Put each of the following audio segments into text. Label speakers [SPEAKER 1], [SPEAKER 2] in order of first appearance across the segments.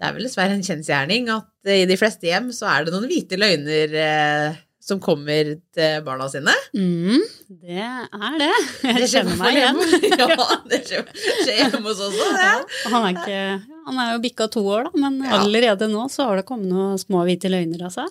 [SPEAKER 1] Det er vel dessverre en kjensgjerning at eh, i de fleste hjem så er det noen hvite løgner eh, som kommer til barna sine.
[SPEAKER 2] Mm, det er det.
[SPEAKER 1] skjer
[SPEAKER 2] Jeg kjenner
[SPEAKER 1] i
[SPEAKER 2] meg igjen.
[SPEAKER 1] hvert fall hjemme. Ja, det skjer, skjer hjemme hos oss også, det.
[SPEAKER 2] Ja, og han, er ikke, han er jo bikka to år, da, men
[SPEAKER 1] Ja.
[SPEAKER 2] allerede nå så har det kommet noen små hvite løgner, altså.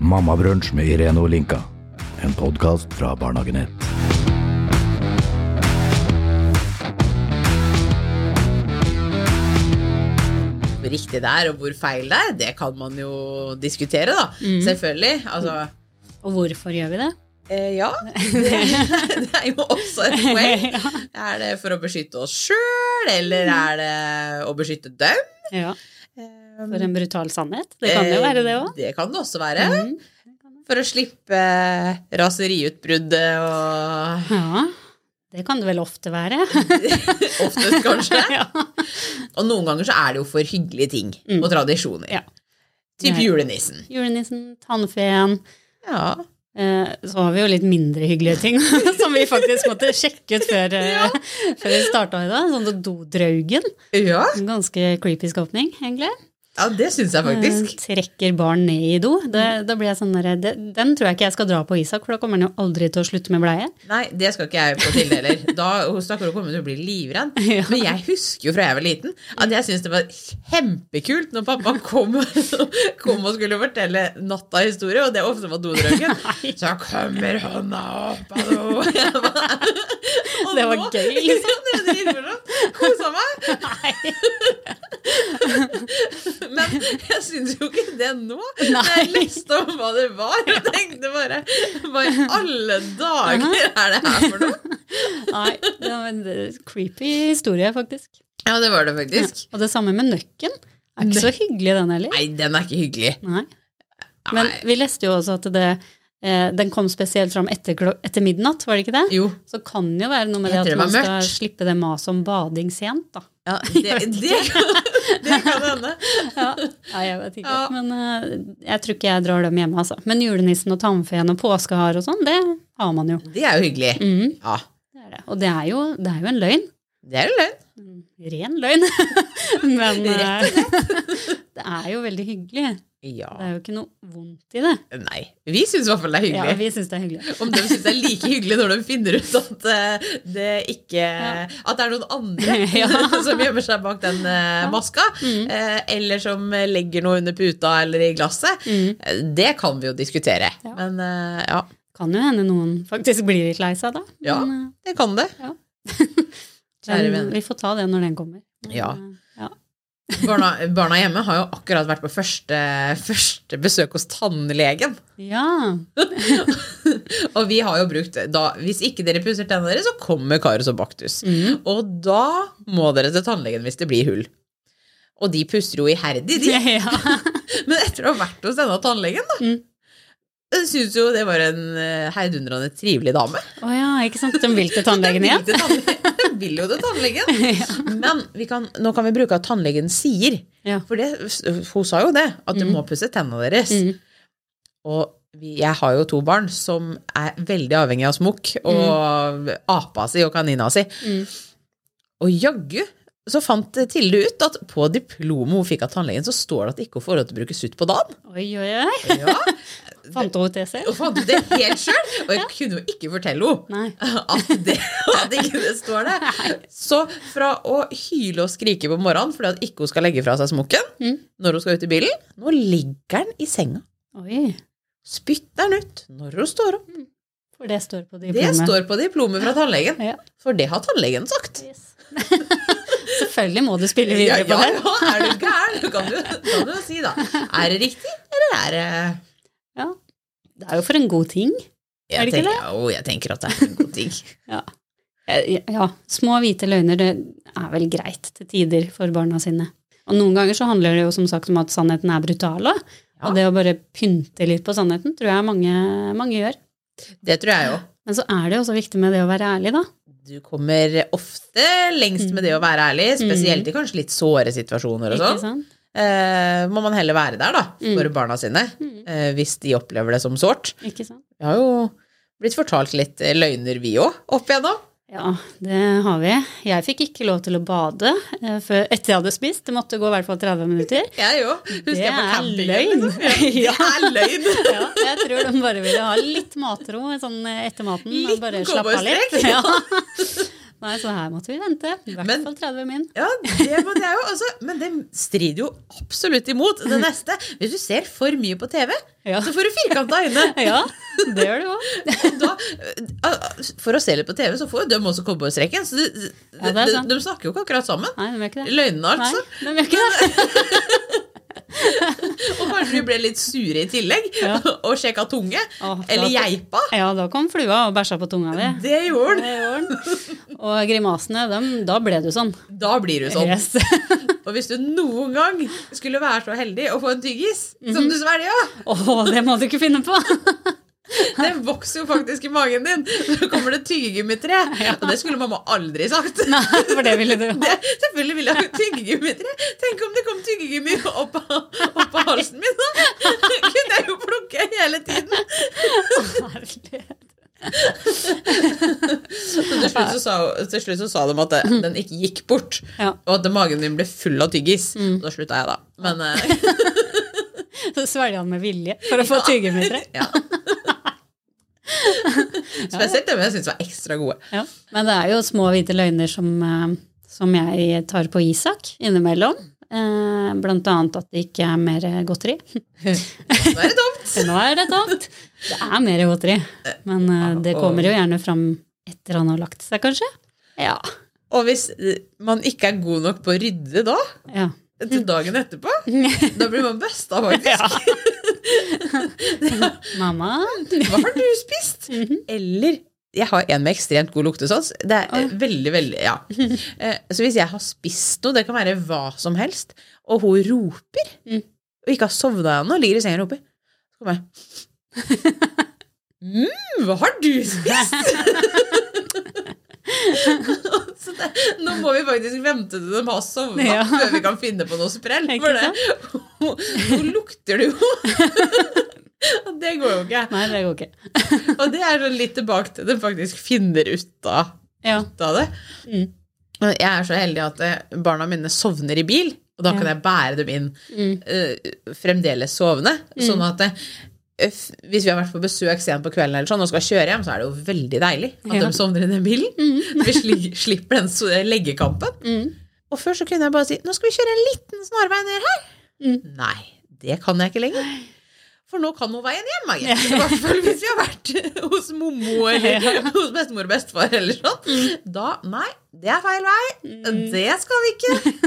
[SPEAKER 3] Mammabrunsj med Irene Olinka. En podkast fra Barnehagenett.
[SPEAKER 1] Hvor riktig det er, og hvor feil det er, det kan man jo diskutere, da.
[SPEAKER 2] Mm.
[SPEAKER 1] Selvfølgelig. Altså,
[SPEAKER 2] Og hvorfor gjør vi det?
[SPEAKER 1] eh, ja. Det, det er jo også et poeng.
[SPEAKER 2] ja. Mm.
[SPEAKER 1] Er det for å beskytte oss sjøl, eller er det å beskytte dem?
[SPEAKER 2] ja,
[SPEAKER 1] Eh,
[SPEAKER 2] for en brutal sannhet. Det kan jo
[SPEAKER 1] eh,
[SPEAKER 2] være det òg.
[SPEAKER 1] Det kan det også være.
[SPEAKER 2] Mm.
[SPEAKER 1] For å slippe raseriutbruddet og
[SPEAKER 2] Ja, det kan det vel ofte være.
[SPEAKER 1] oftest, kanskje.
[SPEAKER 2] ja.
[SPEAKER 1] Og noen ganger så er det jo for hyggelige ting
[SPEAKER 2] Mm.
[SPEAKER 1] og tradisjoner.
[SPEAKER 2] Ja.
[SPEAKER 1] Typ
[SPEAKER 2] Det er-
[SPEAKER 1] julenissen.
[SPEAKER 2] Julenissen, tannfeen.
[SPEAKER 1] Ja.
[SPEAKER 2] Eh, Så har vi jo litt mindre hyggelige ting som vi faktisk måtte sjekke ut før, eh, før vi starta i dag. Sånn som dodraugen.
[SPEAKER 1] Ja,
[SPEAKER 2] En ganske creepy skapning, egentlig.
[SPEAKER 1] ja det syns jeg faktisk.
[SPEAKER 2] Eh, Trekker barn ned i do. Det, da blir jeg sånn der, det, Den tror jeg ikke jeg skal dra på Isak, for da kommer han jo aldri til å slutte med bleie.
[SPEAKER 1] Nei, det skal ikke jeg på til heller. Da hun stakkar hun kommer til å bli livredd.
[SPEAKER 2] Ja.
[SPEAKER 1] Men jeg husker jo fra jeg var liten at jeg syntes det var kjempekult når pappa kom, kom og skulle fortelle natta historie, og det ofte var dodraugen. Så kommer hånda opp av do. Jeg bare- Og
[SPEAKER 2] Det var
[SPEAKER 1] nå-
[SPEAKER 2] gøy, liksom.
[SPEAKER 1] liksom. Det var dritmorsomt. Kosa meg.
[SPEAKER 2] Nei.
[SPEAKER 1] Men jeg syns jo ikke det nå.
[SPEAKER 2] Nei.
[SPEAKER 1] Når jeg leste om hva det var, jeg tenkte bare Hva i alle dager er det her for noe?
[SPEAKER 2] Nei, det var en eh, creepy historie, faktisk.
[SPEAKER 1] Ja, det var det faktisk.
[SPEAKER 2] Og det samme med nøkken. Er ikke så hyggelig, den heller.
[SPEAKER 1] Nei, den er ikke hyggelig.
[SPEAKER 2] Nei.
[SPEAKER 1] Nei.
[SPEAKER 2] Men vi leste jo også at det, eh, den kom spesielt fram etter, klo- etter midnatt, var det ikke det?
[SPEAKER 1] Jo,
[SPEAKER 2] Så kan det jo være noe med det
[SPEAKER 1] Jeg
[SPEAKER 2] at
[SPEAKER 1] tror det
[SPEAKER 2] man
[SPEAKER 1] var
[SPEAKER 2] skal
[SPEAKER 1] mørkt.
[SPEAKER 2] slippe det maset om bading sent, da.
[SPEAKER 1] ja, det, det, kan, det kan hende.
[SPEAKER 2] Ja, Nei, jeg vet ikke.
[SPEAKER 1] Ja.
[SPEAKER 2] Men eh, jeg tror ikke jeg drar dem hjemme, altså. Men julenissen og tannfeen og påskehar og sånn, det har man jo.
[SPEAKER 1] Det er jo hyggelig.
[SPEAKER 2] Mm,
[SPEAKER 1] Ja,
[SPEAKER 2] det er det. Og det er, jo, det er jo en løgn.
[SPEAKER 1] det er jo løgn.
[SPEAKER 2] Mm, Ren løgn. Men eh, det er jo veldig hyggelig.
[SPEAKER 1] Ja.
[SPEAKER 2] Det er jo ikke noe vondt i det.
[SPEAKER 1] Nei. Vi syns i hvert fall det er
[SPEAKER 2] Ja,
[SPEAKER 1] hyggelig.
[SPEAKER 2] vi syns det er hyggelig.
[SPEAKER 1] Om de syns det er like hyggelig når de finner ut at eh, det ikke
[SPEAKER 2] Ja.
[SPEAKER 1] At det er noen andre
[SPEAKER 2] Ja.
[SPEAKER 1] som gjemmer seg bak den eh, maska,
[SPEAKER 2] Mm.
[SPEAKER 1] eh, eller som legger noe under puta eller i glasset.
[SPEAKER 2] Mm.
[SPEAKER 1] Eh, Det kan vi jo diskutere.
[SPEAKER 2] Ja.
[SPEAKER 1] Men eh, ja,
[SPEAKER 2] Kan jo hende noen faktisk blir litt lei seg da.
[SPEAKER 1] Ja,
[SPEAKER 2] Men,
[SPEAKER 1] det kan det.
[SPEAKER 2] Ja. eh,
[SPEAKER 1] Kjære
[SPEAKER 2] den-
[SPEAKER 1] venner.
[SPEAKER 2] vi får ta det når den kommer. Men,
[SPEAKER 1] Ja.
[SPEAKER 2] eh, ja.
[SPEAKER 1] Barna, barna hjemme har jo akkurat vært på første, første besøk hos tannlegen.
[SPEAKER 2] ja.
[SPEAKER 1] Og vi har jo brukt da Hvis ikke dere pusser tennene deres, så kommer Karus og Baktus.
[SPEAKER 2] Mm.
[SPEAKER 1] Og da må dere til tannlegen hvis det blir hull. Og de puster jo iherdig, de.
[SPEAKER 2] ja.
[SPEAKER 1] Men etter å ha vært hos denne tannlegen, da,
[SPEAKER 2] Mm.
[SPEAKER 1] jeg syns jo det var en eh, heidundrende trivelig dame.
[SPEAKER 2] Å ja, ikke sant? Den vil til tannlegen igjen.
[SPEAKER 1] Vil til tannlegen. Den vil jo til tannlegen. Men vi kan, nå kan vi bruke at tannlegen sier.
[SPEAKER 2] Ja.
[SPEAKER 1] For det, hun sa jo det, at du må pusse tennene deres.
[SPEAKER 2] Mm.
[SPEAKER 1] Og vi, jeg har jo to barn som er veldig avhengig av smokk og apa si og kanina si.
[SPEAKER 2] Mm.
[SPEAKER 1] Og jaggu så fant Tilde ut at på diplomet hun fikk av tannlegen, så står det at ikke hun får lov til å bruke sutt på dagen.
[SPEAKER 2] Oi, oi, oi.
[SPEAKER 1] Ja,
[SPEAKER 2] Fant hun ut det selv?
[SPEAKER 1] og fant ut det helt sjøl! Og jeg kunne jo ikke fortelle henne
[SPEAKER 2] Nei.
[SPEAKER 1] at det, at ikke det står der. Så fra å hyle og skrike på morgenen fordi at ikke hun skal legge fra seg smokken
[SPEAKER 2] Mm.
[SPEAKER 1] når hun skal ut i bilen, nå ligger den i senga.
[SPEAKER 2] Oi,
[SPEAKER 1] Spytter den ut når hun står opp.
[SPEAKER 2] for det står på
[SPEAKER 1] Det
[SPEAKER 2] diplomet.
[SPEAKER 1] står på diplomet fra tannlegen.
[SPEAKER 2] Ja.
[SPEAKER 1] For det har tannlegen sagt.
[SPEAKER 2] Yes. Selvfølgelig må du spille
[SPEAKER 1] Ja,
[SPEAKER 2] videre
[SPEAKER 1] ja,
[SPEAKER 2] på det.
[SPEAKER 1] ja, er du gæren? Kan du, kan du si da. Er det riktig, eller er det
[SPEAKER 2] Ja. Det er jo for en god ting.
[SPEAKER 1] jeg
[SPEAKER 2] Er det ikke
[SPEAKER 1] tenker, Jo, jeg tenker at det er en god ting.
[SPEAKER 2] Eh, Ja, små hvite løgner det er vel greit til tider for barna sine. Og noen ganger så handler det jo som sagt om at sannheten er brutal òg.
[SPEAKER 1] Ja.
[SPEAKER 2] Og det å bare pynte litt på sannheten tror jeg mange, mange gjør.
[SPEAKER 1] Det tror jeg òg.
[SPEAKER 2] Men så er det jo også viktig med det å være ærlig, da.
[SPEAKER 1] Du kommer ofte lengst med det å være ærlig, spesielt i kanskje litt såre situasjoner og
[SPEAKER 2] Mm. Ikke
[SPEAKER 1] sånn.
[SPEAKER 2] sant?
[SPEAKER 1] Eh, må man heller være der, da, for barna sine,
[SPEAKER 2] Mm.
[SPEAKER 1] eh, hvis de opplever det som sårt.
[SPEAKER 2] Ikke sant?
[SPEAKER 1] Vi har jo blitt fortalt litt eh, løgner, vi òg, opp igjennom.
[SPEAKER 2] Ja, det har vi. Jeg fikk ikke lov til å bade eh, før, etter jeg hadde spist. Det måtte gå i hvert fall 30 minutter.
[SPEAKER 1] Jeg òg. Husker
[SPEAKER 2] Det
[SPEAKER 1] jeg på
[SPEAKER 2] er
[SPEAKER 1] campingen.
[SPEAKER 2] løgn.
[SPEAKER 1] Liksom. Ja, det er løgn.
[SPEAKER 2] Ja, jeg tror de bare ville ha litt matro sånn eh, etter maten. og
[SPEAKER 1] Liten
[SPEAKER 2] bare slappe av litt.
[SPEAKER 1] cowboystrek.
[SPEAKER 2] Ja. Nei, så her måtte vi vente. I hvert
[SPEAKER 1] Men-
[SPEAKER 2] fall 30 min.
[SPEAKER 1] Ja, det måtte jeg jo også. Men det strider jo absolutt imot det neste. Hvis du ser for mye på TV,
[SPEAKER 2] Ja.
[SPEAKER 1] så får du firkanta øyne.
[SPEAKER 2] Ja, det gjør du òg.
[SPEAKER 1] Og Da, eh, for å se litt på TV, så får jo de også cowboystrekken. Så de, de,
[SPEAKER 2] Ja, det er
[SPEAKER 1] de,
[SPEAKER 2] sant.
[SPEAKER 1] de snakker jo ikke akkurat sammen.
[SPEAKER 2] Nei, de gjør ikke det.
[SPEAKER 1] Løgnene,
[SPEAKER 2] Nei,
[SPEAKER 1] altså.
[SPEAKER 2] de gjør ikke det.
[SPEAKER 1] Og kanskje de ble litt sure i tillegg
[SPEAKER 2] Ja.
[SPEAKER 1] og sjekka tunge.
[SPEAKER 2] Å,
[SPEAKER 1] Eller
[SPEAKER 2] flate.
[SPEAKER 1] geipa.
[SPEAKER 2] Ja, da kom flua og bæsja på tunga di.
[SPEAKER 1] Det gjorde han.
[SPEAKER 2] Det gjorde den. Og grimasene, dem, da ble du sånn.
[SPEAKER 1] Da blir du sånn.
[SPEAKER 2] Yes.
[SPEAKER 1] Og hvis du noen gang skulle være så heldig å få en tyggis som
[SPEAKER 2] Mhm.
[SPEAKER 1] du svelga,
[SPEAKER 2] Å, det må du ikke finne på!
[SPEAKER 1] den vokser jo faktisk i magen din. Så kommer det tyggegummitre. Og det skulle mamma aldri sagt.
[SPEAKER 2] Nei, for det ville du ha.
[SPEAKER 1] Det, selvfølgelig ville jeg ha tyggegummitre. Tenk om det kom tyggegummi opp av, opp av halsen min, da! Kunne jeg jo plukke hele tiden.
[SPEAKER 2] Herlighet.
[SPEAKER 1] Så til slutt så sa, til slutt så sa de at det, den ikke gikk bort,
[SPEAKER 2] Ja.
[SPEAKER 1] og at magen min ble full av tyggis. Og Da slutta jeg, da. Men eh,
[SPEAKER 2] Så svelger han med vilje for å få tyggemidler.
[SPEAKER 1] ja. Spesielt dem jeg syns var ekstra gode.
[SPEAKER 2] Ja. Men det er jo små hvite løgner som, eh, som jeg tar på Isak innimellom. Eh, Blant annet at det ikke er mer godteri.
[SPEAKER 1] Nå er det tomt!
[SPEAKER 2] Nå er det tomt! Det er mer godteri, men eh, det kommer jo gjerne fram etter han har lagt seg, kanskje. Ja.
[SPEAKER 1] Og hvis eh, man ikke er god nok på å rydde da,
[SPEAKER 2] ja.
[SPEAKER 1] til dagen etterpå, da blir man busta, faktisk.
[SPEAKER 2] Mamma?
[SPEAKER 1] Hva har du spist?
[SPEAKER 2] Mhm.
[SPEAKER 1] Eller jeg har en med ekstremt god luktesans. Det er eh, veldig, veldig, ja. Eh, Så hvis jeg har spist noe, det kan være hva som helst, og hun roper,
[SPEAKER 2] Mm.
[SPEAKER 1] og ikke har sovna ennå, ligger i sengen og roper, så kommer jeg mm, hva har du spist? så det, nå må vi faktisk vente til de har sovna
[SPEAKER 2] Ja.
[SPEAKER 1] før vi kan finne på noe sprell.
[SPEAKER 2] Ikke
[SPEAKER 1] For det, nå lukter det jo. Og det går jo ikke.
[SPEAKER 2] Nei, det går ikke.
[SPEAKER 1] Og det er sånn litt tilbake til at du faktisk finner ut av,
[SPEAKER 2] Ja.
[SPEAKER 1] ut av det.
[SPEAKER 2] Mm.
[SPEAKER 1] Og Jeg er så heldig at eh, barna mine sovner i bil, og da kan jeg bære dem inn
[SPEAKER 2] Mm.
[SPEAKER 1] eh, fremdeles sovende. Sånn at eh, f- hvis vi har vært på besøk sent på kvelden eller sånn, og skal kjøre hjem, så er det jo veldig deilig at
[SPEAKER 2] Ja.
[SPEAKER 1] de sovner i den bilen. Vi sli- slipper den so- leggekampen.
[SPEAKER 2] Mm.
[SPEAKER 1] Og før så kunne jeg bare si 'nå skal vi kjøre en liten snarvei ned her'.
[SPEAKER 2] Mm.
[SPEAKER 1] Nei, det kan jeg ikke lenger. For nå kan hun veien hjem, Margit. I hvert fall hvis vi har vært hos mommo eller hos bestemor og bestefar eller sånn. Da Nei, det er feil vei. Det skal vi ikke.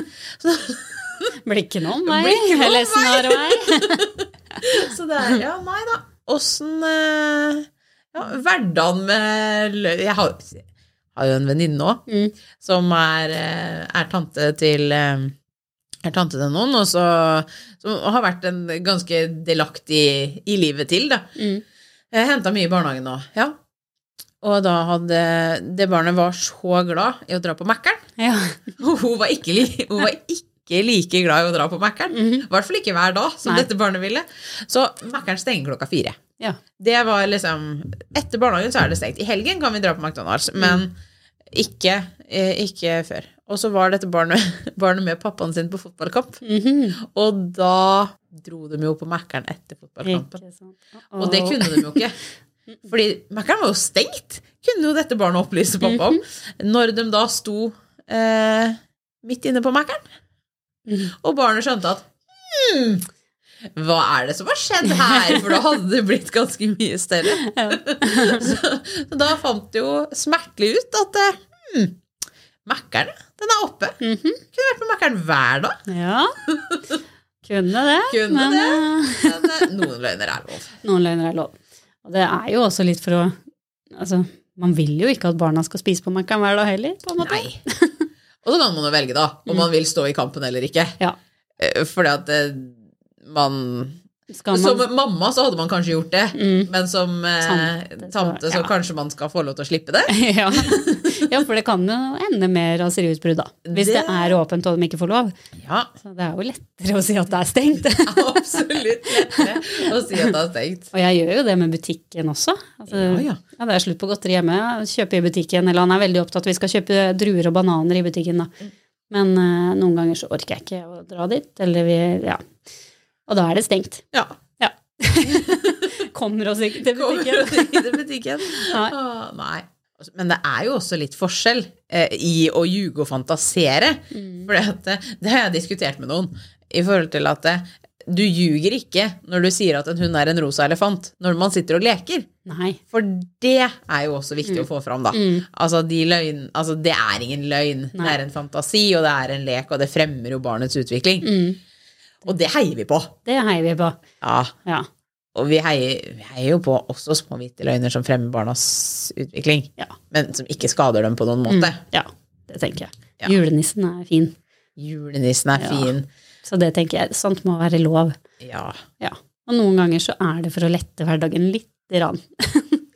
[SPEAKER 2] Blir ikke noen vei.
[SPEAKER 1] Blir ikke noen
[SPEAKER 2] Eller snarvei.
[SPEAKER 1] Så det er Ja, nei da. Åssen eh, ja, Hverdagen med lø- Jeg har, har jo en venninne òg.
[SPEAKER 2] Mm.
[SPEAKER 1] som er, eh, er tante til eh, er tante til noen, og så, som har vært en ganske delaktig i livet til, da.
[SPEAKER 2] Mm.
[SPEAKER 1] Jeg henta mye i barnehagen nå, ja. Og da hadde Det barnet var så glad i å dra på Mækkern.
[SPEAKER 2] Ja.
[SPEAKER 1] Og hun var ikke, li- hun var ikke like glad i å dra på Mækkern. I
[SPEAKER 2] Mhm.
[SPEAKER 1] hvert fall ikke hver dag, som
[SPEAKER 2] Nei.
[SPEAKER 1] dette barnet ville. Så Mækkern stenger klokka fire.
[SPEAKER 2] ja.
[SPEAKER 1] Det var liksom Etter barnehagen så er det stengt. I helgen kan vi dra på McDonald's, men ikke, eh, ikke før. Og så var dette barnet, barnet med pappaen sin på fotballkamp,
[SPEAKER 2] Mhm.
[SPEAKER 1] og da dro de jo på Mækkern etter fotballkampen.
[SPEAKER 2] Ikke sant.
[SPEAKER 1] Og det kunne de jo ikke. Fordi Mækkern var jo stengt, kunne jo dette barnet opplyse pappa om. Når de da sto eh, midt inne på Mækkern,
[SPEAKER 2] Mhm.
[SPEAKER 1] og barnet skjønte at hmm, hva er det som har skjedd her? For da hadde det blitt ganske mye større.
[SPEAKER 2] Ja.
[SPEAKER 1] Så, så da fant det jo smertelig ut at eh, hmm, Mækkern, den er oppe.
[SPEAKER 2] Mhm.
[SPEAKER 1] Kunne vært på Mækkern hver dag.
[SPEAKER 2] Ja. Kunne det.
[SPEAKER 1] Kunne
[SPEAKER 2] men eh,
[SPEAKER 1] Men eh, noen løgner er lov.
[SPEAKER 2] noen løgner er lov. Og det er jo også litt for å Altså, man vil jo ikke at barna skal spise på Mækkern hver dag heller, på en måte. Mm.
[SPEAKER 1] Nei. Og så kan man jo velge, da, om man vil stå i kampen eller ikke.
[SPEAKER 2] Ja.
[SPEAKER 1] Eh, Fordi at eh, man
[SPEAKER 2] Skal man Mm.
[SPEAKER 1] Som mamma så hadde man kanskje gjort det, men som eh,
[SPEAKER 2] Tante, så-
[SPEAKER 1] tante, så
[SPEAKER 2] ja.
[SPEAKER 1] kanskje man skal få lov til å slippe det.
[SPEAKER 2] ja. ja, for det kan jo ende med raseriutbrudd, da. Hvis det...
[SPEAKER 1] Det-
[SPEAKER 2] er åpent og de ikke får lov.
[SPEAKER 1] Ja,
[SPEAKER 2] Så det er jo lettere å si at det er stengt.
[SPEAKER 1] absolutt lettere å si at det er stengt.
[SPEAKER 2] Og jeg gjør jo det med butikken også. Altså,
[SPEAKER 1] Ja, ja.
[SPEAKER 2] det er slutt på godteri hjemme. Kjøpe i butikken. Eller han er veldig opptatt. Vi skal kjøpe druer og bananer i butikken,
[SPEAKER 1] Mm.
[SPEAKER 2] da. Men eh, noen ganger så orker jeg ikke å dra dit. Eller vi Ja. Og da er det stengt.
[SPEAKER 1] Ja.
[SPEAKER 2] Ja. Kommer oss ikke til
[SPEAKER 1] Kommer
[SPEAKER 2] butikken.
[SPEAKER 1] og drikker i butikken.
[SPEAKER 2] Nei.
[SPEAKER 1] Åh, nei. Men det er jo også litt forskjell eh, i å ljuge og fantasere.
[SPEAKER 2] Mm.
[SPEAKER 1] For det, det har jeg diskutert med noen. I forhold til at eh, du ljuger ikke når du sier at en hund er en rosa elefant, når man sitter og leker.
[SPEAKER 2] Nei.
[SPEAKER 1] For det er jo også
[SPEAKER 2] Mm.
[SPEAKER 1] viktig å få fram, da. Altså, de løgn, altså, det er ingen løgn. Det
[SPEAKER 2] Nei.
[SPEAKER 1] er en fantasi, og det er en lek, og det fremmer jo barnets
[SPEAKER 2] Mm.
[SPEAKER 1] utvikling. Og det heier vi på.
[SPEAKER 2] Det heier vi på.
[SPEAKER 1] Ja.
[SPEAKER 2] Ja.
[SPEAKER 1] Og vi heier, vi heier jo på også små hvite løgner som fremmer barnas utvikling,
[SPEAKER 2] Ja. Mm.
[SPEAKER 1] men som ikke skader dem på noen måte.
[SPEAKER 2] ja. Det tenker jeg.
[SPEAKER 1] Ja.
[SPEAKER 2] Julenissen er fin.
[SPEAKER 1] Julenissen er
[SPEAKER 2] Ja.
[SPEAKER 1] fin.
[SPEAKER 2] Så det tenker jeg. Sånt må være lov.
[SPEAKER 1] Ja.
[SPEAKER 2] Ja. Og noen ganger så er det for å lette hverdagen lite grann.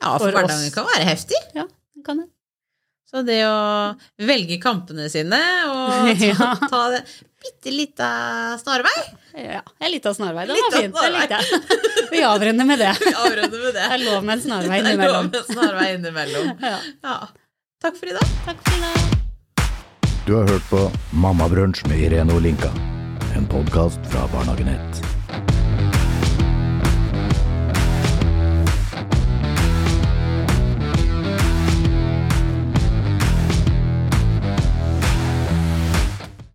[SPEAKER 1] ja, for
[SPEAKER 2] For oss.
[SPEAKER 1] hverdagen kan være heftig.
[SPEAKER 2] Ja, det kan det.
[SPEAKER 1] Så det å velge kampene sine og ta,
[SPEAKER 2] Ja.
[SPEAKER 1] ta det bitte lita snarvei
[SPEAKER 2] Ja, en liten snarvei. Den
[SPEAKER 1] Liten
[SPEAKER 2] var fin. Den
[SPEAKER 1] snarvei.
[SPEAKER 2] likte jeg. Vi avrunder med det.
[SPEAKER 1] Vi avrunder med
[SPEAKER 2] Det er
[SPEAKER 1] det.
[SPEAKER 2] lov med en snarvei
[SPEAKER 1] Det er lov
[SPEAKER 2] innimellom.
[SPEAKER 1] med snarvei innimellom.
[SPEAKER 2] Ja.
[SPEAKER 1] Ja. Takk for i dag.
[SPEAKER 2] Takk for i dag.
[SPEAKER 3] Du har hørt på Mammabrunsj med Irene og Linka. En podkast fra Barnehagen 1.